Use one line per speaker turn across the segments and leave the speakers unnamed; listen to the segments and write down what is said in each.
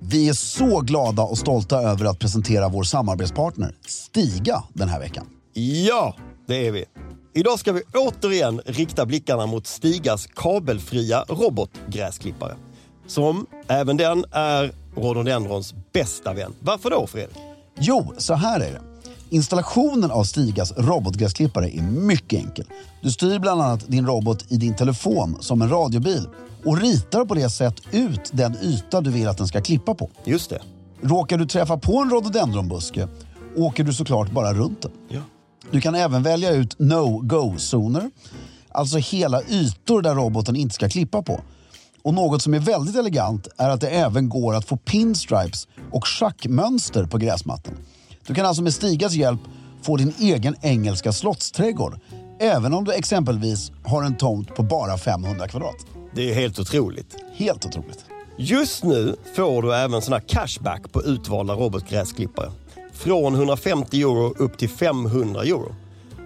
Vi är så glada och stolta över att presentera vår samarbetspartner Stiga den här veckan.
Ja, det är vi. Idag ska vi återigen rikta blickarna mot Stigas kabelfria robotgräsklippare. Som även den är rhododendrons bästa vän. Varför då Fredrik?
Jo, så här är det. Installationen av Stigas robotgräsklippare är mycket enkel. Du styr bland annat din robot i din telefon som en radiobil och ritar på det sätt ut den yta du vill att den ska klippa på.
Just det.
Råkar du träffa på en rhododendronbuske åker du såklart bara runt den.
Ja.
Du kan även välja ut no-go-zoner, alltså hela ytor där roboten inte ska klippa på. Och något som är väldigt elegant är att det även går att få pinstripes och schackmönster på gräsmattan. Du kan alltså med Stigas hjälp få din egen engelska slottsträdgård, även om du exempelvis har en tomt på bara 500 kvadrat.
Det är helt otroligt.
Helt otroligt.
Just nu får du även sån här cashback på utvalda robotgräsklippare. Från 150 euro upp till 500 euro.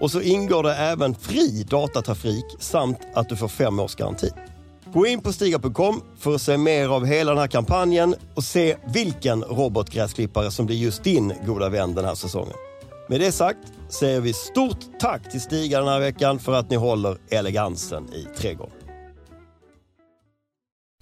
Och så ingår det även fri datatrafik samt att du får fem års garanti. Gå in på stiga.com för att se mer av hela den här kampanjen och se vilken robotgräsklippare som blir just din goda vän den här säsongen. Med det sagt säger vi stort tack till Stiga den här veckan för att ni håller elegansen i trädgården.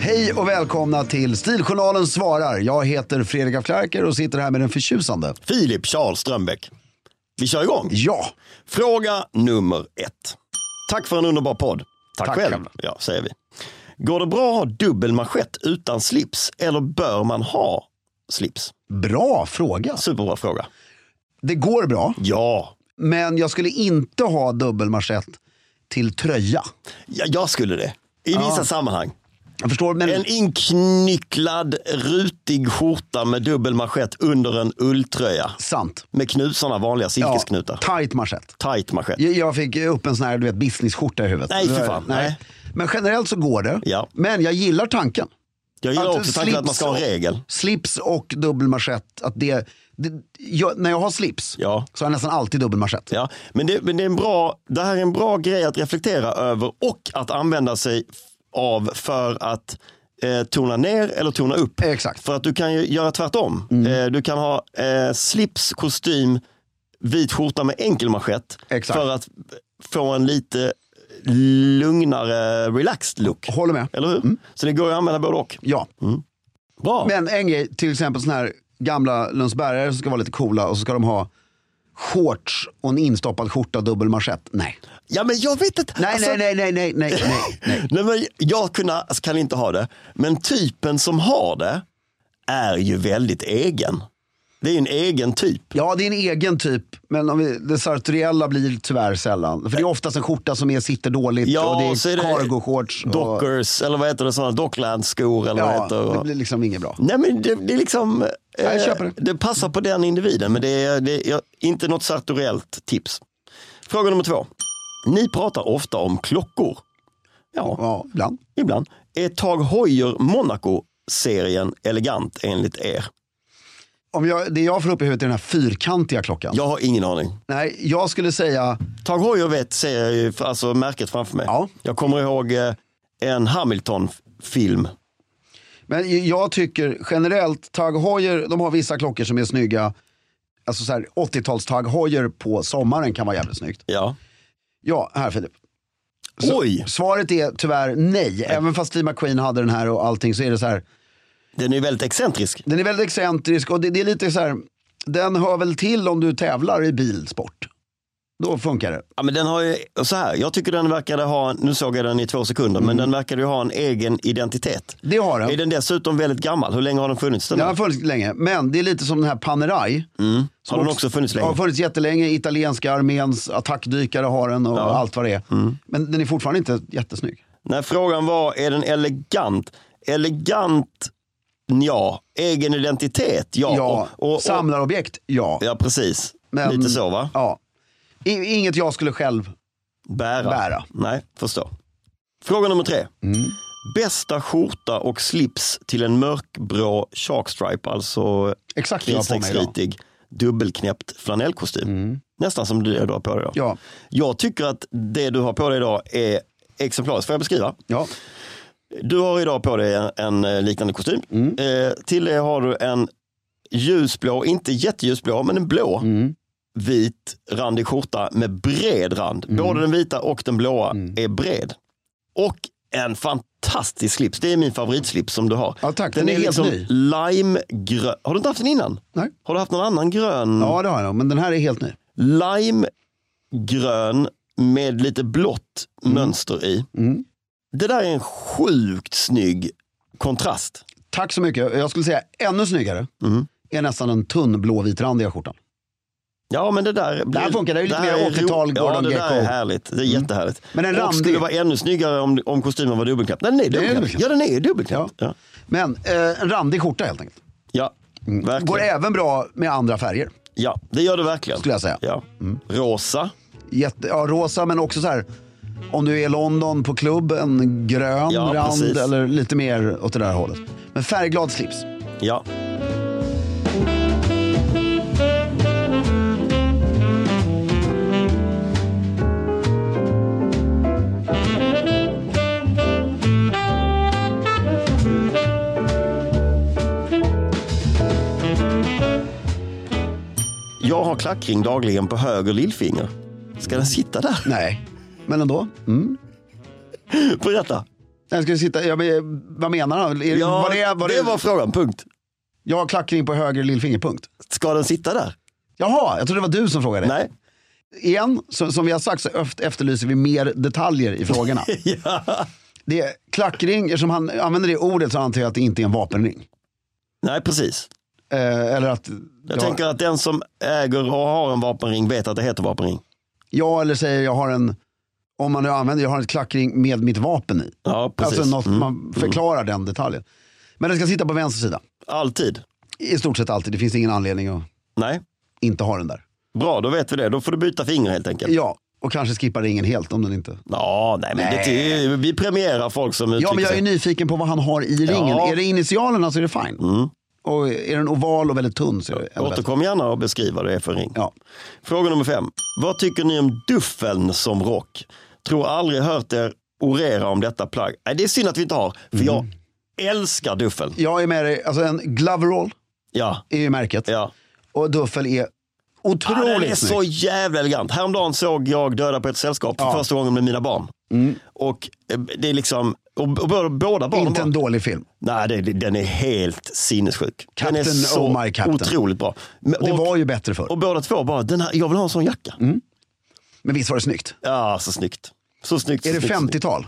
Hej och välkomna till Stiljournalen svarar. Jag heter Fredrik af Klarker och sitter här med den förtjusande.
Filip Charles Strömbäck. Vi kör igång.
Ja,
Fråga nummer ett. Tack för en underbar podd. Tack,
Tack
själv.
själv.
Ja, säger vi. Går det bra att ha dubbel manschett utan slips eller bör man ha slips?
bra fråga.
Superbra fråga.
Det går bra,
Ja,
men jag skulle inte ha dubbelmarschett till tröja.
ja jag skulle det. I vissa sammanhang.
Jag förstår, men
En inknycklad rutig skjorta med dubbel manschett under en ulltröja.
sant.
Med knusarna, vanliga silkesknutar.
tight manschett.
Tight manschett.
Jag- Jag fick upp en sån här du vet, businessskjorta i huvudet.
Nej, för fan, nej.
Men generellt så går det.
Ja.
Men jag gillar tanken.
Jag gillar
Att
också tanken att man
slips
ska ha en
och-
regel.
Slips och dubbelmarschett. Att det, det, jag, när jag har slips
Ja.
så har jag nästan alltid dubbelmarschett.
Ja, men det, men det, är en bra, det här är en bra grej att reflektera över och att använda sig f- av för att eh, tona ner eller tona upp.
Exakt.
För att du kan ju göra tvärtom.
Mm.
Eh, du kan ha eh, slips, kostym, vit skjorta med enkelmanschett
Exakt.
för att få en lite lugnare, relaxed look.
Håller med.
Eller hur? Så det går ju att använda både och.
Ja.
Bra!
Mm. Men en grej, till exempel såna här gamla Lundsbergare som ska vara lite coola och så ska de ha shorts och en instoppad skjorta, dubbel manschett. Nej.
Ja, men jag vet inte.
Nej,
Alltså-
nej, nej, nej, nej, nej, nej.
Nej, men jag kunna, alltså, kan inte ha det, men typen som har det är ju väldigt egen. Det är ju en egen typ.
Ja, det är en egen typ, men om vi, det sartoriella blir tyvärr sällan. För det är oftast en skjorta som är, sitter dåligt
Ja,
och det
och så är
är
det
cargo-shorts. och-
Dockers, eller vad heter det, sådana docklands-skor eller vad
Ja,
heter
det blir liksom inget bra.
Nej men det, det är liksom, eh,
jag köper det.
passar på den individen men det är, det är inte något sartoriellt tips. Fråga nummer två. Ni pratar ofta om klockor. Ja,
Ja, ibland.
ibland. Är Tag Heuer Monaco-serien elegant enligt er?
Om jag, det jag får upp i huvudet är den här fyrkantiga klockan.
Jag har ingen aning.
Nej, jag skulle säga,
Tag Heuer vet, ser jag ju, alltså märket framför mig.
Ja.
Jag kommer ihåg eh, en Hamilton-film.
men jag tycker generellt, Tag Heuer, de har vissa klockor som är snygga. Alltså så här 80-tals Tag Heuer på sommaren kan vara jävligt snyggt.
Ja.
Ja, här Filip.
Oj,
Svaret är tyvärr nej. Även fast Steve McQueen hade den här och allting så är det så här.
den är ju väldigt excentrisk.
Den är väldigt excentrisk och det, det är lite så här. Den hör väl till om du tävlar i bilsport. Då funkar det.
Ja, men den har ju, så här, jag tycker den verkade ha, nu såg jag den i två sekunder,
Mm.
men den verkade ju ha en egen identitet.
Det har
Är
den.
den dessutom väldigt gammal? Hur länge har den funnits? Den
Den
här?
har funnits länge, men det är lite som den här Panerai.
har den också funnits
Ja,
länge?
har funnits jättelänge. Italienska arméns attackdykare har den och allt vad det är. Men den är fortfarande inte jättesnygg.
När frågan var, är den elegant? Elegant, ja. Egen identitet, ja.
Ja,
Och- och- och-
samlarobjekt, ja.
Ja, precis.
Men-
Lite så va?
ja. I, inget jag skulle själv.
Bära.
Bära. Mm.
Nej, förstå. Fråga nummer tre. Bästa skjorta och slips till en mörkblå chalkstripe, alltså
Exakt det jag har på mig idag. Mm.
kritstrecksritig, dubbelknäppt flanellkostym. Nästan som det du har på dig idag.
Ja.
Jag tycker att det du har på dig idag är exemplariskt. Får jag beskriva?
Ja.
Du har idag på dig en, en eh, liknande kostym.
Mm.
Eh, till det har du en ljusblå, inte jätteljusblå, men en blå
Mm.
vit randig skjorta med bred rand.
Mm.
Både den vita och den blåa är bred. Och en fantastisk slips. Det är min favoritslips som du har. liksom
Ja, tack. Den är helt ny.
limegrön. Har du inte haft den innan?
Nej.
Har du haft någon annan grön?
ja, det har jag nog. Men den här är helt ny.
limegrön med lite blått
Mm.
mönster i. Det där är en sjukt snygg kontrast.
Tack så mycket. Jag skulle säga ännu snyggare
Mm-hmm.
är nästan den tunn blåvitrandiga skjortan.
Ja men det där blir,
funkar, det är lite mer
är
80-tal
ro-
Gordon
Ja det där
Gekko.
är härligt, det är jättehärligt.
Men en
Och
randig-
skulle vara ännu snyggare om, om kostymen var dubbelknäppt. Nej, den är dubbelknäppt.
dubbelknäppt.
Ja den är dubbelknäppt. Ja,
Men eh, en randig skjorta helt enkelt.
ja. verkligen.
Mm. Går även bra med andra färger.
Ja, det gör det verkligen.
Skulle Mm. jag säga.
Ja. Rosa.
Jätte, ja, rosa men också så här. Om du är i London på klubb, en grön
Ja,
rand
precis.
eller lite mer åt det där hållet. Men färgglad slips.
Ja. Jag har klackring dagligen på höger lillfinger. Ska den sitta där?
Nej, men ändå. Mm.
Berätta.
Jag ska sitta, ja, men, eh, vad menar han? Är,
Ja,
var det, var det,
var frågan, punkt.
Jag har klackring på höger lillfingerpunkt.
Ska den sitta där?
Jaha, jag trodde det var du som frågade.
Nej.
Igen, så, som vi har sagt så öft- efterlyser vi mer detaljer i frågorna.
ja.
det är klackring, eftersom han använder det ordet så antar jag att det inte är en vapenring.
Nej, precis.
Eh, eller att...
Jag tänker att den som äger och har en vapenring vet att det heter vapenring.
Ja, eller säger jag har en, om man nu använder, jag har en klackring med mitt vapen i.
Ja, precis.
Alltså något,
Mm.
man förklarar den detaljen. Men den ska sitta på vänster sida.
Alltid.
I stort sett alltid, det finns ingen anledning att
Nej.
inte ha den där.
Bra, då vet vi det. Då får du byta finger helt enkelt.
Ja, och kanske skippa ringen helt om den inte...
Ja, nej, men Det, det- vi premierar folk som uttrycker
Ja, men jag är
sig.
nyfiken på vad han har i ringen.
Ja. Mm.
Är det initialerna så är det fine. Och är den oval och väldigt tunn så är det ännu bättre.
Återkom gärna och beskriv vad det är för ring.
Ja.
Fråga nummer fem. Vad tycker ni om duffeln som rock? Tror aldrig hört er orera om detta plagg. Nej, det är synd att vi inte har, för
Mm.
jag älskar duffel.
Jag är med dig, alltså en Gloverall
Ja,
är ju märket.
ja.
Och duffel är
Ah, den är
otroligt
så
snygg.
jävla elegant. Häromdagen såg jag Döda på ett sällskap för första gången med mina barn.
Mm.
Och eh, det är liksom, och, och båda, båda barnen
Inte
bara,
en dålig film.
Nej, det, det- den är helt sinnessjuk. den är
Captain,
så
oh my captain.
otroligt bra. Men,
Det
och,
var Mm. ju bättre förr.
och båda två bara, den här, jag vill ha en sån jacka.
Men visst var det snyggt?
Ja, så snyggt. Så snyggt.
Är
så
det
snyggt, så snyggt.
50-tal?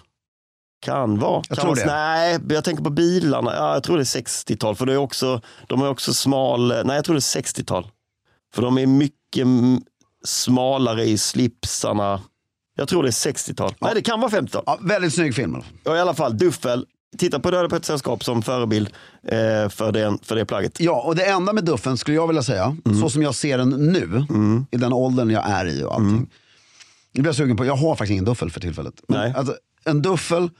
Kan vara.
Jag
kan
tror det.
vara- Nej, men jag tänker på bilarna. Ja, jag tror det är 60-tal. För det är också, de har också smal... Nej, jag tror det är 60-tal. För de är mycket mm, smalare i slipsarna. Jag tror det är 60-tal. Nej, det kan vara 50-tal.
Ja, väldigt snygg film.
Och I alla fall, duffel. Titta på Döda på ett sällskap som förebild eh, för, den, för det plagget.
Ja, och det enda med duffen skulle jag vilja säga,
Mm.
så som jag ser den nu, i den åldern jag är i och allting.
Mm.
Nu blir jag sugen på, jag har faktiskt ingen duffel för tillfället. Men
Nej.
Alltså, en duffel,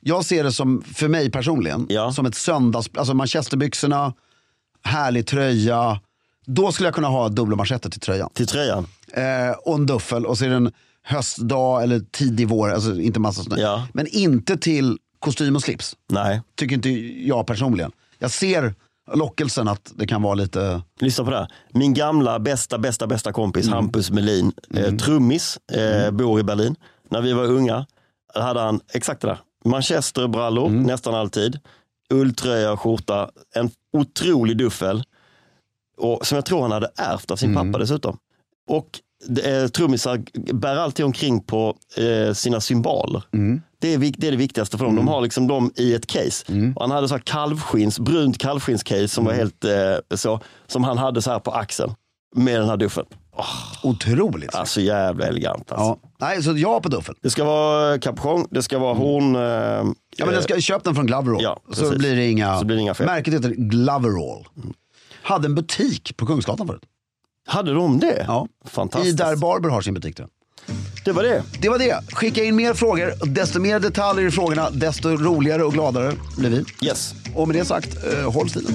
jag ser det som, för mig personligen,
Ja.
som ett söndags... Alltså manchesterbyxorna, härlig tröja. Då skulle jag kunna ha dubbla manschetter till tröjan.
Till tröjan.
Eh, och en duffel och så är det en höstdag eller tidig vår, alltså inte massa snö.
Ja.
Men inte till kostym och slips
Nej,
tycker inte jag personligen. Jag ser lockelsen att det kan vara lite...
lyssna på det här. Min gamla bästa, bästa, bästa kompis Hampus Melin, eh, trummis, eh, bor i Berlin. När vi var unga hade han exakt det där. Manchesterbrallor nästan alltid. Ulltröja och skjorta. En otrolig duffel. Och, som jag tror han hade ärvt av sin pappa dessutom. Och eh, trummisar bär alltid omkring på eh, sina symboler.
Mm.
Det, är, vik- det är det viktigaste för dem. De har liksom dem i ett case.
Mm.
Och han hade så här kalvskins, brunt kalvskins-case som var helt eh, så, som han hade så här på axeln med den här duffen.
Otroligt.
Alltså jävla elegant. Alltså.
Ja. Nej, så jag på duffel.
Det ska vara eh, capuchon, det ska vara horn. Eh,
Mm. Ja, men jag ska, köp den från Gloverall.
ja,
så,
precis.
blir det inga,
Så blir det inga fel.
Märket heter Gloverall. Hade en butik på Kungsgatan förut.
eh, Hade de det?
Ja. I
Fantastiskt.
där Barber har sin butik. Tror jag.
Det var det.
Det var det. Skicka in mer frågor. Och Desto mer detaljer i frågorna, desto roligare och gladare blir vi.
Yes.
Och med det sagt, eh, håll stilen.